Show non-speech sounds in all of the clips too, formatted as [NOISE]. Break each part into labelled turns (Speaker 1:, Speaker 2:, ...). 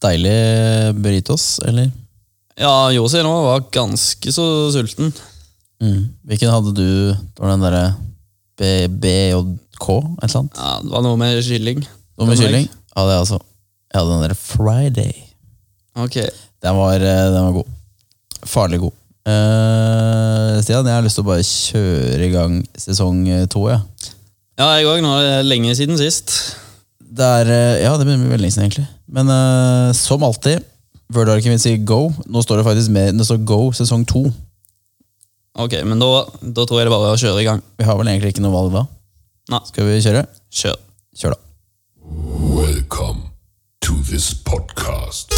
Speaker 1: Deilig eh, burritos, eller?
Speaker 2: Ja, Josi nå var ganske så sulten.
Speaker 1: Mm. Hvilken hadde du? Det var den derre B- BJK, et eller annet?
Speaker 2: Ja, det var noe med kylling.
Speaker 1: Noe med
Speaker 2: Den var
Speaker 1: kylling? Ja, det altså. Jeg hadde den derre Friday.
Speaker 2: ikke- Ok.
Speaker 1: Den var, eh, den var god. Farlig god. Eh, Stian, jeg har lyst til å bare kjøre i gang sesong eh, to. Ja.
Speaker 2: Ja, jeg òg. Nå er det lenge siden sist.
Speaker 1: Det er, eh, ja, det begynner å bli veldig lenge siden, egentlig. Men eh, som alltid, Wordarken vil si go. Nå står det faktisk med, det står go sesong to.
Speaker 2: Ok, men da, da tror jeg det bare er å kjøre i gang.
Speaker 1: Vi har vel egentlig ikke noe valg da.
Speaker 2: Nei.
Speaker 1: Skal vi kjøre?
Speaker 2: Kjør.
Speaker 1: Kjør, da.
Speaker 3: Welcome to this podcast.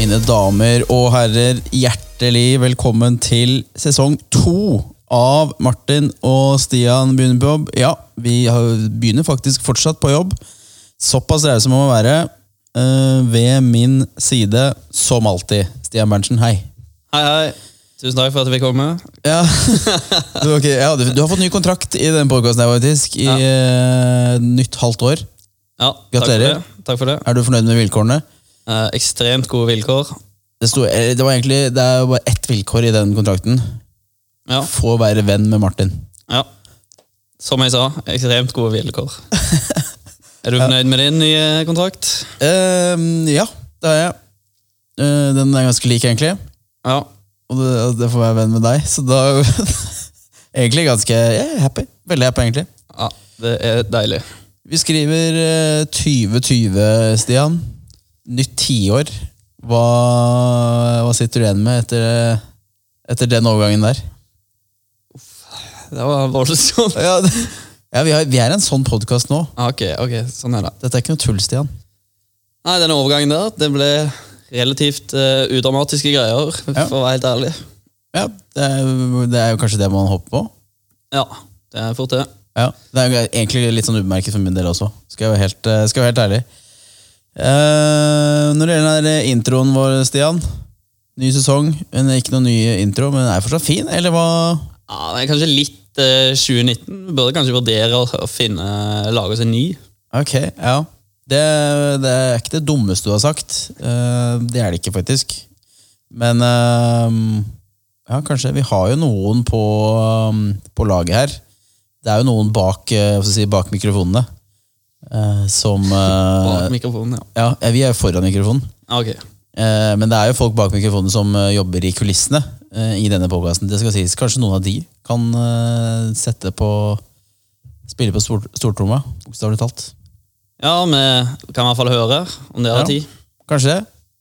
Speaker 1: Mine damer og herrer, hjertelig velkommen til sesong to av Martin og Stian begynner på jobb. Ja, vi har- begynner faktisk fortsatt på jobb. Såpass rause må man være. Eh, ved min side, som alltid, Stian Berntsen, hei.
Speaker 2: Hei, hei. Tusen takk for at jeg fikk komme.
Speaker 1: Ja. Du, ok, ja, du, du har fått ny kontrakt i den podkasten her, faktisk. I eh, nytt halvt år.
Speaker 2: Ja,
Speaker 1: Gratulerer.
Speaker 2: Takk for det. Takk for det.
Speaker 1: Er du fornøyd med vilkårene?
Speaker 2: Eh, ekstremt gode vilkår.
Speaker 1: Det, sto, eh, det, var egentlig, det er jo bare ett vilkår i den kontrakten.
Speaker 2: Ja,
Speaker 1: Få være venn med Martin.
Speaker 2: ja. Som jeg sa, ekstremt gode
Speaker 1: [LAUGHS]
Speaker 2: vilkår. Er du fornøyd med din nye kontrakt?
Speaker 1: Ehm, ja, det er jeg. Eh, den er ganske lik, egentlig.
Speaker 2: Ja.
Speaker 1: Og det, og det får jeg venn med deg, så da [LAUGHS] Egentlig ganske jeg er happy. Veldig happy, egentlig.
Speaker 2: ja. Det er deilig.
Speaker 1: Vi skriver eh, 2020, Stian. Nytt tiår. Hva, hva sitter du igjen med etter, etter den overgangen der?
Speaker 2: Det var voldsomt.
Speaker 1: Ja, det, ja vi, har, vi er en sånn podkast nå.
Speaker 2: Ah, Ok, ok, sånn er det.
Speaker 1: Dette er ikke noe tull, Stian.
Speaker 2: Nei, den overgangen der, det ble relativt eh, udramatiske greier,
Speaker 1: Ja.
Speaker 2: for å være helt ærlig.
Speaker 1: Ja, det er, det er jo kanskje det man håper på.
Speaker 2: Ja, det er fort det.
Speaker 1: Ja, Det er egentlig litt sånn ubemerket for min del også. Skal jeg være helt, eh, skal jeg være helt ærlig. Eh, når det gjelder den der introen vår, Stian. Ny sesong, men ikke noen ny intro. Men den er fortsatt fin, eller hva?
Speaker 2: Ja, det er kanskje litt eh, 2019. Vi burde kanskje vurdere å- å finne, eh, lage oss en ny.
Speaker 1: Ok, ja. Det, det er ikke det dummeste du har sagt. Eh, det er det ikke, faktisk. Men eh, ja, kanskje. Vi har jo noen på, eh, på laget her. Det er jo noen bak, eh, hva skal jeg si, bak mikrofonene. eh, som eh,
Speaker 2: [LAUGHS] Bak mikrofonen, ja.
Speaker 1: Ja, eh, vi er jo foran mikrofonen.
Speaker 2: Ah, Ok,
Speaker 1: Eh, men det er jo folk bak mikrofonen som eh, jobber i kulissene eh, i denne podkasten. Det skal sies. Kanskje noen av de kan eh, sette på Spille på stor, stortromma, bokstavelig talt.
Speaker 2: Ja, vi kan i hvert fall høre om dere har
Speaker 1: Ja.
Speaker 2: tid.
Speaker 1: Kanskje det.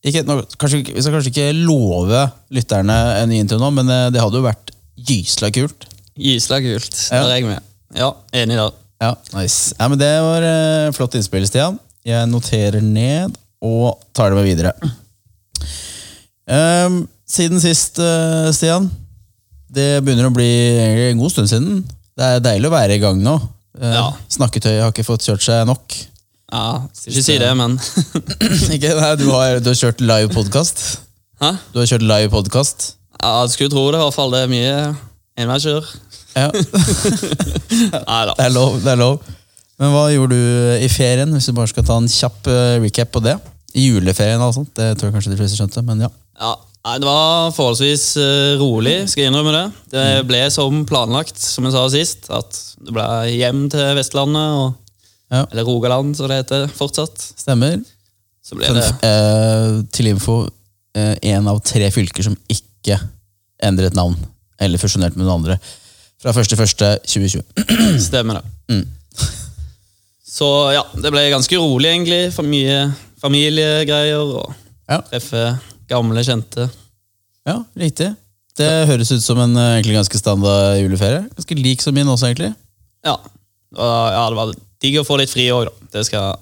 Speaker 1: Ikke, nå, kanskje, vi skal kanskje ikke love lytterne en ny intro nå, men eh, det hadde jo vært gysla kult.
Speaker 2: Gysla kult.
Speaker 1: Ja.
Speaker 2: Der er jeg med. Ja, enig der.
Speaker 1: Ja, nice. Ja, men Det var eh, flott innspill, Stian. Jeg noterer ned og tar det med videre. Ehm, siden sist, eh, Stian. Det begynner å bli egentlig en god stund siden. Det er deilig å være i gang nå. Eh,
Speaker 2: Ja.
Speaker 1: Snakketøyet har ikke fått kjørt seg nok. [CLEARS THROAT]
Speaker 2: Ja, skal ikke si det, men [LAUGHS]
Speaker 1: ikke? Nei, du, har, du har kjørt live podkast.
Speaker 2: Hæ?
Speaker 1: Du har kjørt live podkast.
Speaker 2: Ja, du skulle tro det, i hvert fall. Det er mye enveiskjør.
Speaker 1: Ja, det
Speaker 2: Nei da.
Speaker 1: er lov. det er lov. Men hva gjorde du eh, i ferien, hvis du bare skal ta en kjapp eh, recap på det? I juleferien, altså. Det tror jeg kanskje de fleste skjønte, men ja.
Speaker 2: Ja, nei, det var forholdsvis eh, rolig, skal jeg innrømme det. Det
Speaker 1: Mm.
Speaker 2: ble som planlagt, som jeg sa sist, at det ble hjem til Vestlandet, og,
Speaker 1: Ja.
Speaker 2: eller Rogaland, som det heter fortsatt.
Speaker 1: Stemmer.
Speaker 2: Så ble det
Speaker 1: Eh, til info, én av tre fylker som ikke endret navn. Eller fusjonert med noen andre. Fra 1.1.2020.
Speaker 2: stemmer, det.
Speaker 1: Mm.
Speaker 2: Så ja, det ble ganske rolig, egentlig. For mye familiegreier og
Speaker 1: Ja.
Speaker 2: treffe gamle kjente.
Speaker 1: ja, riktig. Det høres ut som en eh, egentlig ganske standard juleferie. Ganske lik som min også, egentlig.
Speaker 2: Ja, og, ja det var digg å få litt fri òg, da. Det skal,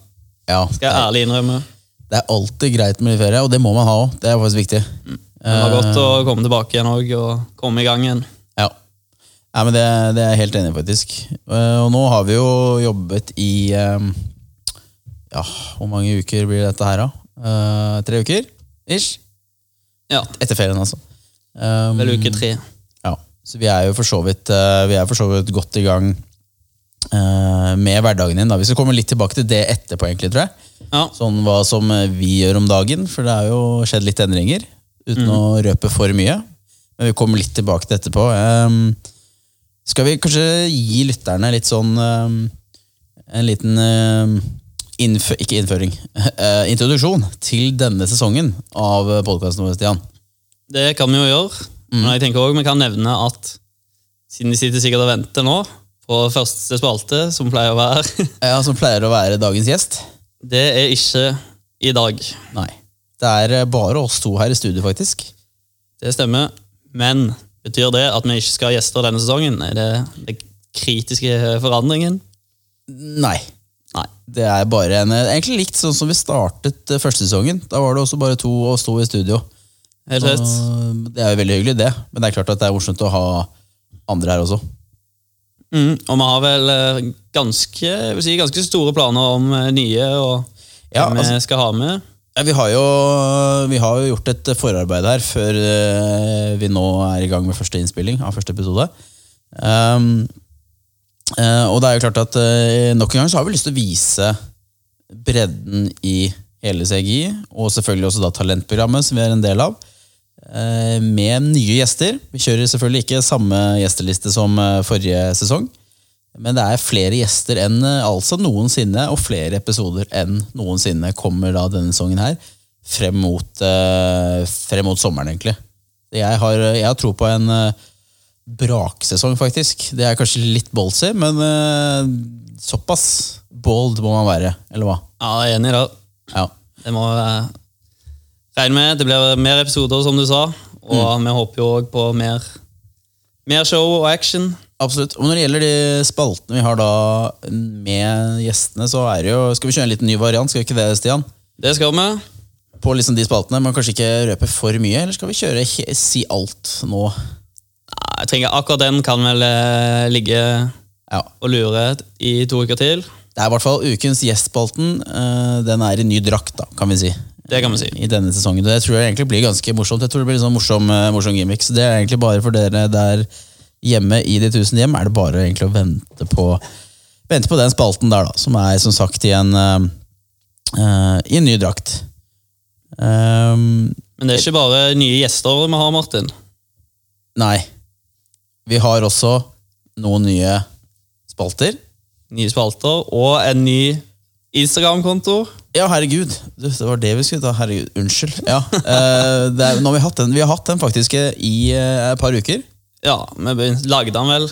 Speaker 1: Ja,
Speaker 2: skal jeg ærlig innrømme.
Speaker 1: Det er alltid greit med ferie, og det må man ha òg. Det er faktisk viktig.
Speaker 2: Det
Speaker 1: Eh.
Speaker 2: var godt å komme tilbake igjen òg, og komme i gang igjen.
Speaker 1: Ja. Nei, men det, det er jeg helt enig i, faktisk. Eh, Og nå har vi jo jobbet i eh, Ja, hvor mange uker blir dette her, da? Eh, Tre uker? Ish.
Speaker 2: Ja.
Speaker 1: Etter ferien, altså. Um,
Speaker 2: Vel uke tre.
Speaker 1: Ja, så vi er jo for så vidt, eh, vi er for så vidt godt i gang eh, med hverdagen din. Da. Vi skal komme litt tilbake til det etterpå, egentlig, tror jeg.
Speaker 2: Ja.
Speaker 1: Sånn hva som eh, vi gjør om dagen, for det er jo skjedd litt endringer. Uten å røpe for mye. Men vi kommer litt tilbake til det etterpå. Em, skal vi kanskje gi lytterne litt sånn em, En liten em, innfø Ikke innføring. [LAUGHS] eh, introduksjon til denne sesongen av podkasten vår, Stian.
Speaker 2: Det kan vi jo gjøre.
Speaker 1: Mm.
Speaker 2: Men jeg tenker også vi kan nevne at siden de sitter sikkert og venter nå på første spalte, som pleier å være [LAUGHS]
Speaker 1: Ja, som Eh, altså, pleier å være dagens gjest.
Speaker 2: Det er ikke i dag.
Speaker 1: Nei. Det er eh, bare oss to her i studio, faktisk.
Speaker 2: Det stemmer. Men betyr det at vi ikke skal ha gjester denne sesongen? Er det den kritiske forandringen?
Speaker 1: Nei.
Speaker 2: Nei.
Speaker 1: Det er bare en, eh, egentlig likt sånn som vi startet eh, første sesongen. Da var det også bare to og sto i studio.
Speaker 2: Helt rett.
Speaker 1: Og Det er jo veldig hyggelig, det. Men det er klart at det er morsomt å ha andre her også.
Speaker 2: Mm, og vi har vel eh, ganske, jeg vil si, ganske store planer om eh, nye og
Speaker 1: Ja,
Speaker 2: hvem
Speaker 1: altså-
Speaker 2: vi skal ha med.
Speaker 1: Ja, Vi har, jo, vi har jo gjort et forarbeid her før eh, vi nå er i gang med første innspilling av første episode. Ehm, eh, og det er jo klart at eh, nok en gang så har vi lyst til å vise bredden i hele CGI, og selvfølgelig også da talentprogrammet som vi er en del av, eh, med nye gjester. Vi kjører selvfølgelig ikke samme gjesteliste som eh, forrige sesong, men det er flere gjester enn eh, altså noensinne, og flere episoder enn noensinne kommer da denne sesongen her, frem mot, eh, frem mot sommeren egentlig. Jeg har, jeg har tro på en eh, braksesong faktisk. Det er kanskje litt ballsy, men eh, såpass bold må man være, eller hva?
Speaker 2: Ja, jeg er enig i det.
Speaker 1: Ja.
Speaker 2: Det må eh, regne med. Det blir mer episoder, som du sa. Og vi håper jo òg på mer, mer show og action.
Speaker 1: Absolutt. Og når det gjelder de spaltene vi har da med gjestene, så er det jo Skal vi kjøre en liten ny variant, skal vi ikke det, Stian?
Speaker 2: Det skal vi.
Speaker 1: På liksom de spaltene, men kanskje ikke røpe for mye? Eller skal vi kjøre he si alt nå?
Speaker 2: Nei, Jeg trenger Akkurat den kan vel eh, ligge
Speaker 1: Ja.
Speaker 2: og lure i to uker til.
Speaker 1: Det er i hvert fall ukens gjestspalten. eh, Den er i ny drakt, da, kan vi si.
Speaker 2: Det kan vi si.
Speaker 1: I denne sesongen. Og Det tror jeg egentlig blir ganske morsomt. Jeg tror det blir litt sånn morsom, eh, morsom gimmick. Så det er egentlig bare for dere der hjemme i De tusen hjem, er det bare egentlig å vente på Vente på den spalten der, da, som er som sagt i en eh, eh, I en ny drakt. Ehm,
Speaker 2: Men det er ikke bare nye gjester vi har, Martin.
Speaker 1: nei. Vi har også noen nye spalter.
Speaker 2: Nye spalter og en ny Instagram-konto.
Speaker 1: Ja, herregud. Du, det var det vi skulle ta. Herregud, unnskyld. Ja, eh, det er, nå har vi, hatt den, vi har hatt den faktisk eh, i eh, et par uker.
Speaker 2: Ja, vi begyn- lagde den vel.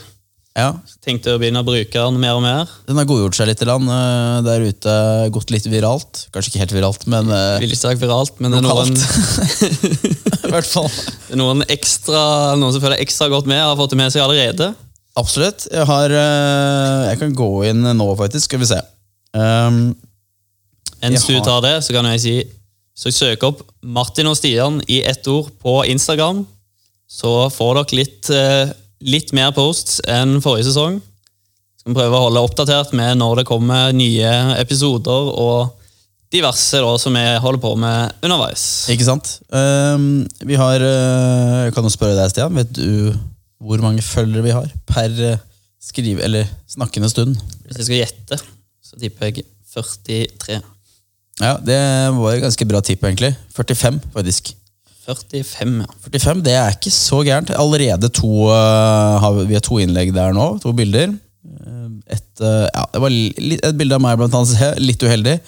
Speaker 1: Ja,
Speaker 2: Tenkte å begynne å bruke den mer og mer.
Speaker 1: Den har godgjort seg litt i land eh, der ute. Gått litt viralt. Kanskje ikke helt viralt, men eh,
Speaker 2: Vil ikke sagt viralt, men det er
Speaker 1: Lokalt.
Speaker 2: noen
Speaker 1: [LAUGHS] i hvert fall.
Speaker 2: Det er noen, ekstra, noen som følger ekstra godt med, har fått det med seg allerede.
Speaker 1: Absolutt. Jeg, har, eh, jeg kan gå inn nå, faktisk. Skal vi se. Ehm,
Speaker 2: Mens
Speaker 1: Jeg
Speaker 2: du
Speaker 1: har-
Speaker 2: tar det, så kan jeg si så søk opp Martin og Stian i ett ord på Instagram. Så får dere litt, eh, litt mer posts enn forrige sesong. Skal vi prøve å holde oppdatert med når det kommer nye episoder og diverse da, som vi holder på med underveis.
Speaker 1: ikke sant? Ehm, vi har eh, Jeg kan jo spørre deg, Stian. Vet du hvor mange følgere vi har per eh, skrive... Eller snakkende stund?
Speaker 2: Hvis jeg skal gjette, så tipper jeg 43.
Speaker 1: Ja, det var et ganske bra tipp, egentlig. 45, faktisk.
Speaker 2: 45, ja.
Speaker 1: 45, Det er ikke så gærent. Allerede to eh, har, Vi har to innlegg der nå. To bilder. Eh, Et, eh, ja, det var li, et bilde av meg, blant annet. se- Litt uheldig.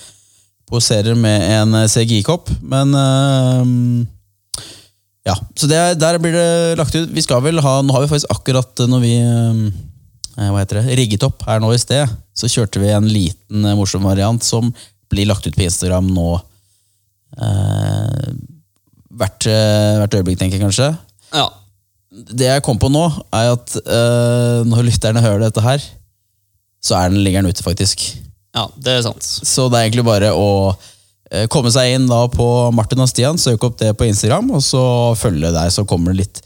Speaker 1: Poserer med en eh, CGI-kopp, men eh, ja, så det, er- der blir det lagt ut. Vi skal vel ha, Nå har vi faktisk akkurat eh, når vi eh, hva heter det, rigget opp her nå i sted, så kjørte vi en liten eh, morsom variant som blir lagt ut på Instagram nå eh, hvert, eh, hvert øyeblikk, tenker jeg kanskje.
Speaker 2: ja.
Speaker 1: Det jeg kom på nå, er at eh, når lytterne hører dette her, så er den, ligger den ute, faktisk.
Speaker 2: Ja, det er sant.
Speaker 1: Så det er egentlig bare å eh, komme seg inn da på Martin og Stian, søke opp det på Instagram, og så følge deg, så kommer det litt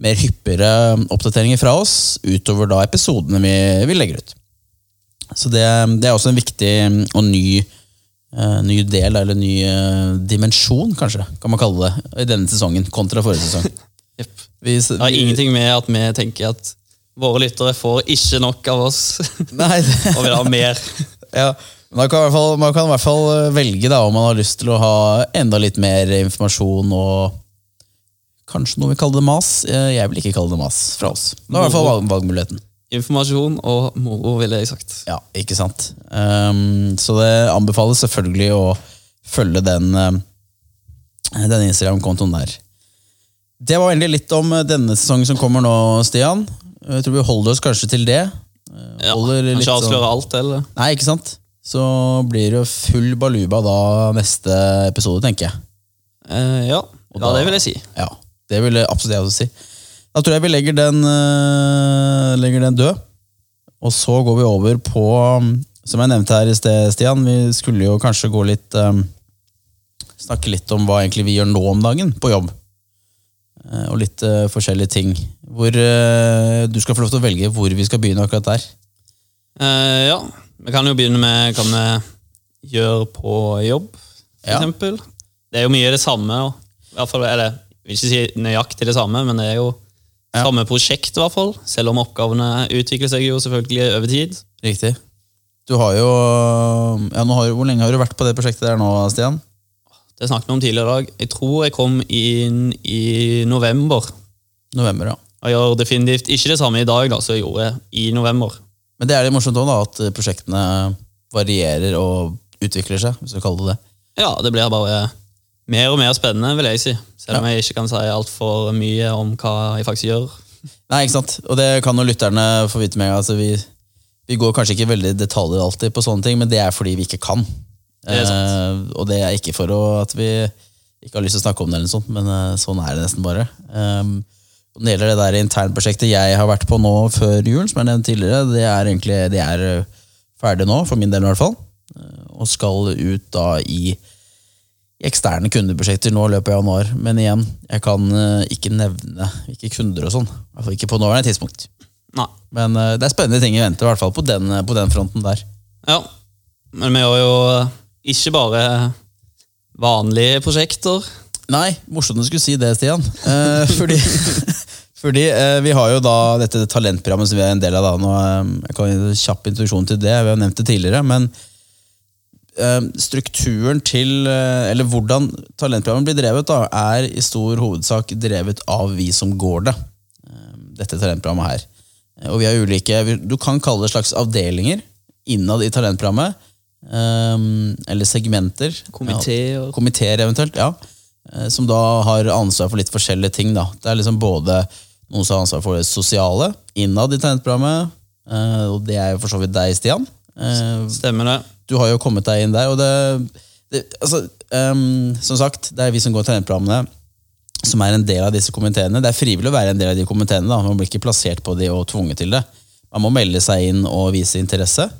Speaker 1: mer hyppigere oppdateringer fra oss utover da episodene vi, vi legger ut. Så det, det er også en viktig og ny, eh, ny del, eller ny eh, dimensjon, kanskje, kan man kalle det, i denne sesongen kontra forrige sesong.
Speaker 2: Jepp.
Speaker 1: Vi, s-
Speaker 2: Det har ingenting med at vi tenker at våre lyttere får ikke nok av oss
Speaker 1: Nei, det,
Speaker 2: og vil ha mer.
Speaker 1: ja. Man kan, i hvert fall, man kan i hvert fall eh, velge da, om man har lyst til å ha enda litt mer informasjon og kanskje noe vi kaller det mas. Eh, Jeg vil ikke kalle det mas fra oss. Det er i hvert fall valg- valgmuligheten.
Speaker 2: Informasjon og moro, ville jeg sagt.
Speaker 1: Ja, ikke sant? Ehm, så det anbefales selvfølgelig å følge den, eh, den Instagram-kontoen der. Det var egentlig litt om eh, denne sesongen som kommer nå, Stian. Jeg tror vi holder oss kanskje til det. Eh,
Speaker 2: Ja,
Speaker 1: holder litt
Speaker 2: Kanskje
Speaker 1: sånn-
Speaker 2: avsløre alt, eller?
Speaker 1: Nei, ikke sant? Så blir det jo full baluba da neste episode, tenker jeg.
Speaker 2: Eh, ja. ja,
Speaker 1: da-
Speaker 2: det vil jeg si.
Speaker 1: Ja, det vil jeg absolutt jeg også si. Da tror jeg vi legger den, øh, legger den død. Og så går vi over på, um, som jeg nevnte her i sted, Stian, vi skulle jo kanskje gå litt um, Snakke litt om hva egentlig vi gjør nå om dagen på jobb. Eh, Og litt eh, forskjellige ting. Hvor eh, Du skal få lov til å velge hvor vi skal begynne akkurat der.
Speaker 2: Eh, ja, vi kan jo begynne med hva vi gjør på jobb, for
Speaker 1: Ja.
Speaker 2: eksempel. Det er jo mye det samme, og- i hvert fall, eller jeg vil ikke si nøyaktig det samme, men det er jo
Speaker 1: Ja.
Speaker 2: samme prosjekt i hvert fall, selv om oppgavene utvikler seg jo selvfølgelig over tid.
Speaker 1: Riktig. Du har jo ja, nå har, Hvor lenge har du vært på det prosjektet der nå, Stian?
Speaker 2: Det snakket vi om tidligere i dag. Jeg tror jeg kom inn i november.
Speaker 1: November, ja.
Speaker 2: Og jeg gjør definitivt ikke det samme i dag da, som jeg gjorde i november.
Speaker 1: Men det er litt morsomt òg, at prosjektene varierer og utvikler seg. hvis du kaller det det.
Speaker 2: Ja, det blir bare mer og mer spennende, vil jeg si. Selv om jeg ikke kan si altfor mye om hva jeg faktisk gjør.
Speaker 1: Nei, ikke sant? Og det kan jo lytterne få vite med. Altså, vi, vi går kanskje ikke veldig i detaljer alltid på sånne ting, men det er fordi vi ikke kan.
Speaker 2: Det er sant.
Speaker 1: Eh, og det er ikke for å, at vi ikke har lyst til å snakke om det, eller noe sånt, men eh, sånn er det nesten bare. Um, og når det gjelder det der internprosjektet jeg har vært på nå før jul, som jeg nevnte tidligere, det er egentlig det er eh, ferdig nå, for min del i hvert fall, eh, og skal ut da i i eksterne kundeprosjekter nå i løpet av januar. Men igjen, jeg kan eh, ikke nevne hvilke kunder og sånn. I hvert fall ikke på nåværende tidspunkt.
Speaker 2: Nei.
Speaker 1: Men eh, det er spennende ting i vente, i hvert fall på den, eh, på den fronten der.
Speaker 2: Ja. Men vi gjør jo ikke bare vanlige prosjekter.
Speaker 1: Nei, morsomt du skulle si det, Stian. Eh, fordi [LAUGHS] fordi eh, vi har jo da dette talentprogrammet som vi er en del av. da. Nå, eh, jeg kan gi en kjapp introduksjon til det, vi har nevnt det tidligere. Men eh, strukturen til, eh, eller hvordan talentprogrammet blir drevet, da, er i stor hovedsak drevet av vi som går det. Eh, Dette talentprogrammet her. Eh, Og vi har ulike, vi- du kan kalle det slags avdelinger innad i talentprogrammet. eh, eller segmenter.
Speaker 2: Komiteer.
Speaker 1: Ja, komiteer eventuelt, ja. Eh, Som da har ansvar for litt forskjellige ting. da. Det er liksom både noen som har ansvar for det sosiale innad i talentprogrammet, eh, og det er jo for så vidt deg, Stian. Eh,
Speaker 2: Stemmer det?
Speaker 1: du har jo kommet deg inn der, og det, det altså, ehm, Som sagt, det er vi som går talentprogrammene, som er en del av disse komiteene. Det er frivillig å være en del av de komiteene. da. Man blir ikke plassert på de og tvunget til det. Man må melde seg inn og vise interesse,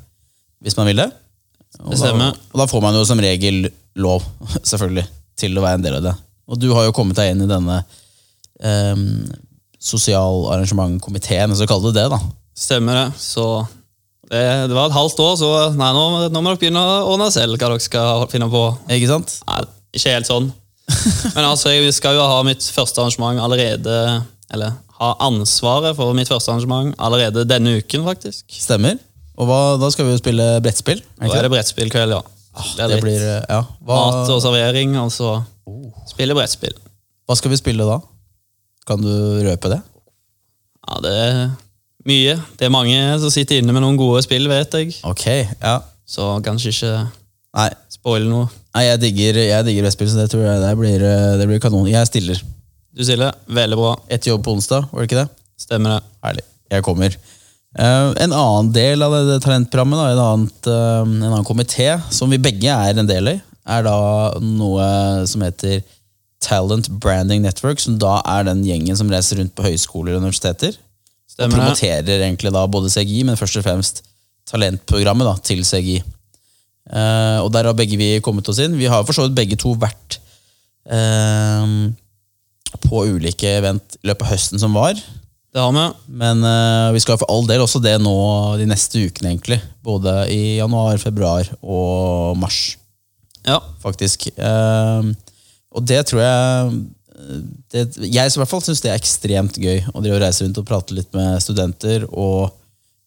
Speaker 1: hvis man vil det. Og
Speaker 2: Det
Speaker 1: da,
Speaker 2: stemmer.
Speaker 1: og da får man jo som regel lov, [LAUGHS] selvfølgelig, til å være en del av det. Og du har jo kommet deg inn i denne um, sosialarrangementkomiteen, så kall det det, da.
Speaker 2: Stemmer det. Så det, det var et halvt år, så nei, nå, nå må dere begynne å ordne selv hva dere skal finne på.
Speaker 1: Ikke sant?
Speaker 2: Nei, ikke helt sånn. Men altså, jeg skal jo ha mitt første arrangement allerede Eller ha ansvaret for mitt første arrangement allerede denne uken, faktisk.
Speaker 1: Stemmer. Og hva, da skal vi jo spille brettspill. er det ikke
Speaker 2: Da er det brettspillkveld, ja.
Speaker 1: Det,
Speaker 2: litt
Speaker 1: blir, eh, Oh. ja.
Speaker 2: mat
Speaker 1: Hva,
Speaker 2: og servering, og så spille brettspill.
Speaker 1: hva skal vi spille da? Kan du røpe det?
Speaker 2: Ja, det er mye. Det er mange som sitter inne med noen gode spill, vet jeg.
Speaker 1: Ok, ja.
Speaker 2: Så kanskje ikke
Speaker 1: Nei,
Speaker 2: spoile noe.
Speaker 1: nei jeg digger, jeg digger brettspill, så det tror jeg det blir, eh, det blir kanon. Jeg stiller.
Speaker 2: Du, Silje, veldig bra.
Speaker 1: Etter jobb på onsdag, var det ikke det?
Speaker 2: Stemmer det.
Speaker 1: Herlig. Jeg kommer. Eh, en annen del av det, det talentprogrammet, da, en, annet, eh, en annen komité, som vi begge er en del i, er da noe som heter Talent Branding Network, som da er den gjengen som reiser rundt på høyskoler og universiteter. Og
Speaker 2: Stemmer det.
Speaker 1: promoterer egentlig da både CGI, men først og fremst talentprogrammet da, til CGI. Eh, og der har begge vi kommet oss inn. Vi har for så vidt begge to vært eh, på ulike event i løpet av høsten som var.
Speaker 2: Det har vi.
Speaker 1: Men eh, vi skal for all del også det nå de neste ukene, egentlig. Både i januar, februar og mars,
Speaker 2: Ja.
Speaker 1: faktisk. Eh, og det Ehm, tror jeg det, jeg i hvert fall syns det er ekstremt gøy å drive og reise rundt og prate litt med studenter, og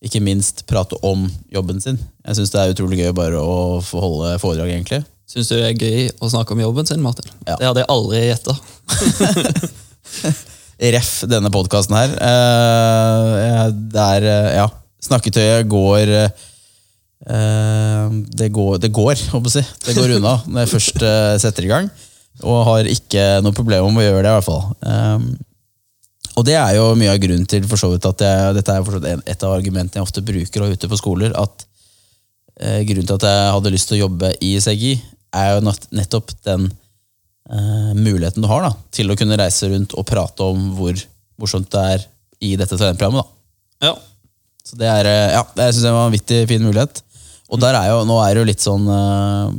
Speaker 1: ikke minst prate om jobben sin. Jeg syns det er utrolig gøy bare å få holde foredrag, egentlig.
Speaker 2: Syns du det er gøy å snakke om jobben sin, Martin?
Speaker 1: Ja.
Speaker 2: Det hadde jeg aldri gjetta.
Speaker 1: Ref denne podkasten her. Eh, det er eh, Ja. Snakketøyet går eh, det går, det går, håper jeg å si. Det går unna når jeg først eh, setter i gang. Og har ikke noe problem med å gjøre det, i hvert fall. Eh, Og det er jo mye av grunnen til for så vidt at jeg, dette er jo for så vidt en- et av argumentene jeg ofte bruker og er ute på skoler, at eh, grunnen til at jeg hadde lyst til å jobbe i CGI, er jo nat- nettopp den eh, muligheten du har da, til å kunne reise rundt og prate om hvor morsomt det er i dette talentprogrammet. Da.
Speaker 2: Ja.
Speaker 1: Så det er, eh, ja, det synes jeg var en vanvittig fin mulighet. Og der er jo, nå er det jo litt sånn, eh,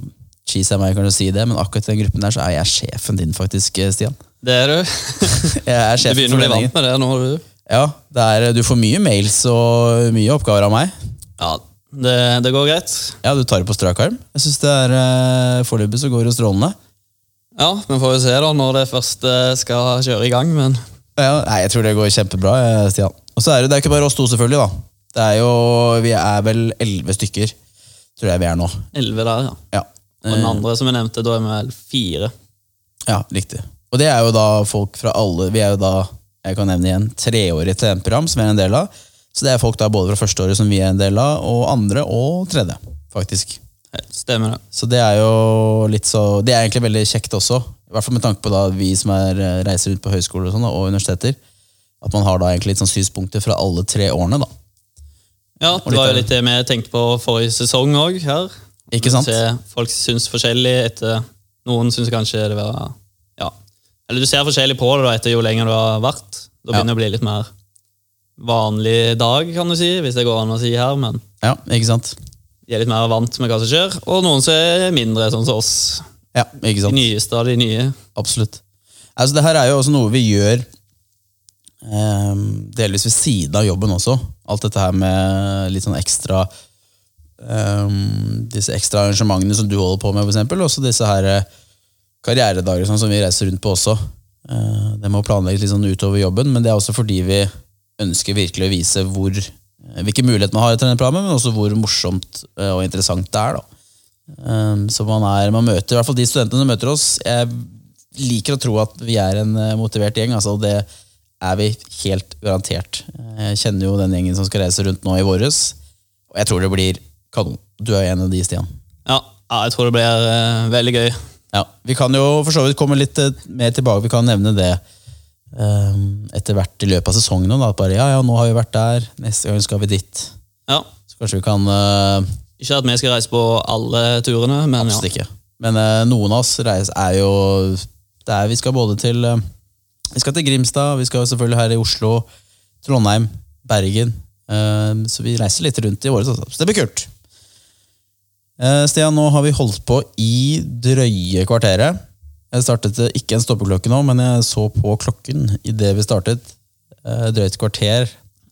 Speaker 1: cheese er meg kan du si det, men akkurat i den gruppen der så er jeg sjefen din faktisk, eh, Stian. [LAUGHS]
Speaker 2: Det er [LAUGHS] du.
Speaker 1: Jeg er
Speaker 2: Du
Speaker 1: sjefen for
Speaker 2: begynner å bli
Speaker 1: foreningen.
Speaker 2: vant med det nå. du.
Speaker 1: Ja, det er, du får mye mails og mye oppgaver av meg.
Speaker 2: Ja, det, det går greit.
Speaker 1: Ja, du tar det på strak arm. Jeg synes det er, eh, foreløpig så går det jo strålende.
Speaker 2: Ja, Vi får jo se da når det først eh, skal kjøre i gang, men
Speaker 1: Ja, nei, jeg tror det går kjempebra, eh, Stian. Og så er det, det er ikke bare oss to, selvfølgelig. da. Det er jo, Vi er vel elleve stykker, tror jeg vi er nå.
Speaker 2: 11 der, ja.
Speaker 1: Ja.
Speaker 2: Og den andre som jeg nevnte, da er vi vel fire.
Speaker 1: ja, riktig. Og det er jo da folk fra alle Vi er jo da, jeg kan nevne igjen, treårig TN-program som vi er en del av. Så det er folk da både fra førsteåret som vi er en del av, og andre og tredje, faktisk.
Speaker 2: Ja, Stemmer det.
Speaker 1: Så det er jo litt så Det er egentlig veldig kjekt også. I hvert fall med tanke på da vi som er, eh, reiser rundt på høyskoler og, sånn, da, og universiteter. At man har da egentlig litt sånn synspunkter fra alle tre årene, da.
Speaker 2: Ja,
Speaker 1: litt
Speaker 2: Det var
Speaker 1: av-
Speaker 2: jo litt det vi tenkte på forrige sesong òg.
Speaker 1: Ikke sant?
Speaker 2: Se, folk syns forskjellig etter Noen syns kanskje det var ja. Eller du ser forskjellig på det da etter jo lenger du har vært.
Speaker 1: Ja.
Speaker 2: Da begynner det å bli litt mer vanlig dag, kan du si, hvis det går an å si her. Men
Speaker 1: Ja, ikke sant?
Speaker 2: de er litt mer vant med hva som skjer. Og noen som er mindre, sånn som oss.
Speaker 1: Ja, ikke
Speaker 2: De
Speaker 1: sant?
Speaker 2: nyeste av de nye.
Speaker 1: Absolutt. Altså, det her er jo også noe vi gjør ehm, delvis ved siden av jobben også. Alt dette her med litt sånn ekstra ehm, Disse ekstra arrangementene som du holder på med, for eksempel. Også disse her eh, karrieredager sånn, som vi reiser rundt på også. Eh, det må planlegges litt sånn utover jobben, men det er også fordi vi ønsker virkelig å vise hvor, eh, hvilke muligheter man har etter denne planen, men også hvor morsomt eh, og interessant det er. da. Um, så man, er, man møter, i hvert fall de studentene som møter oss, jeg liker å tro at vi er en eh, motivert gjeng, altså, og det er vi helt garantert. Eh, Jeg kjenner jo den gjengen som skal reise rundt nå i våres, og jeg tror det blir kanon. Du er jo en av de, Stian.
Speaker 2: Ja, ja jeg tror det blir eh, veldig gøy.
Speaker 1: Ja, Vi kan jo for så vidt komme litt eh, mer tilbake. Vi kan nevne det um, etter hvert i løpet av sesongen. nå, Da, at bare, ja, ja, nå har vi vært der, neste gang skal vi dit.
Speaker 2: Ja.
Speaker 1: Så kanskje vi kan eh,
Speaker 2: Ikke at vi skal reise på alle turene, men ja.
Speaker 1: Absolutt ikke. Men eh, noen av oss reis er jo det er, Vi skal både til eh, Vi skal til Grimstad, vi skal selvfølgelig her i Oslo, Trondheim, Bergen. Eh, så vi reiser litt rundt i året. altså. Så det blir kult. Eh, Stian, nå har vi holdt på i drøye kvarteret. Jeg startet eh, ikke en stoppeklokke nå, men jeg så på klokken idet vi startet. Eh, drøyt kvarter.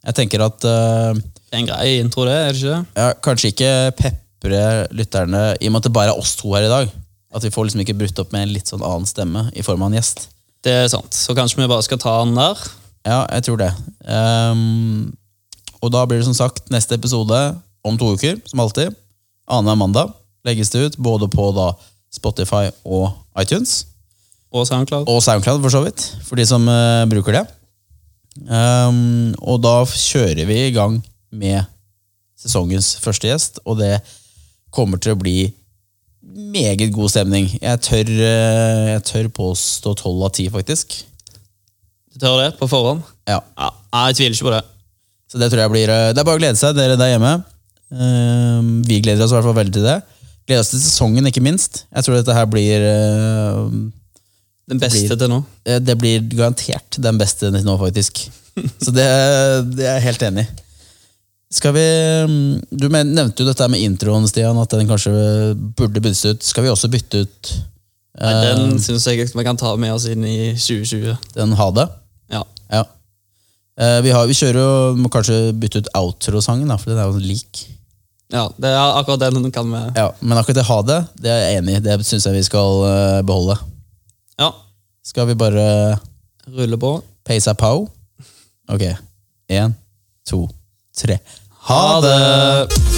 Speaker 1: Jeg tenker at eh,
Speaker 2: Det er en grei intro, det, er det ikke? det?
Speaker 1: ja, kanskje ikke pepre lytterne, i og med at det bare er oss to her i dag. At vi får liksom ikke brutt opp med en litt sånn annen stemme i form av en gjest.
Speaker 2: Det er sant. Så kanskje vi bare skal ta den der.
Speaker 1: Ja, jeg tror det. Ehm, og da blir det som sagt neste episode om to uker, som alltid. Annenhver mandag legges det ut, både på da Spotify og iTunes.
Speaker 2: Og SoundCloud.
Speaker 1: Og SoundCloud, for så vidt, for de som eh, bruker det. Ehm, og da f- kjører vi i gang med sesongens første gjest, og det kommer til å bli meget god stemning. Jeg tør, eh, jeg tør påstå tolv av ti, faktisk.
Speaker 2: Du tør det på forhånd?
Speaker 1: Ja,
Speaker 2: Ja, nei, jeg tviler ikke på det.
Speaker 1: Så det tror jeg blir eh, Det er bare å glede seg, dere der hjemme. Ehm, vi gleder oss i hvert fall veldig til det. Gleder oss til sesongen, ikke minst. Jeg tror dette her blir eh,
Speaker 2: Den beste
Speaker 1: Blir-
Speaker 2: til nå.
Speaker 1: Eh, Det blir garantert den beste til nå, faktisk. Så det, det er jeg helt enig i. Skal vi mm, Du men- nevnte jo dette her med introen, Stian, at den kanskje burde byttes ut. Skal vi også bytte ut
Speaker 2: Nei,
Speaker 1: eh,
Speaker 2: den syns jeg vi kan ta med oss inn i 2020.
Speaker 1: den ha det?
Speaker 2: Ja,
Speaker 1: Ja. Eh, vi, har, vi kjører jo Må kanskje bytte ut outro-sangen, da, for den er jo lik.
Speaker 2: ja det er akkurat den kan vi
Speaker 1: Ja, men akkurat det ha det, det er jeg enig i. Det syns jeg vi skal eh, beholde.
Speaker 2: Ja,
Speaker 1: Skal vi bare
Speaker 2: Rulle på.
Speaker 1: peisa pow? Ok. Én, to, tre.
Speaker 2: Ha det!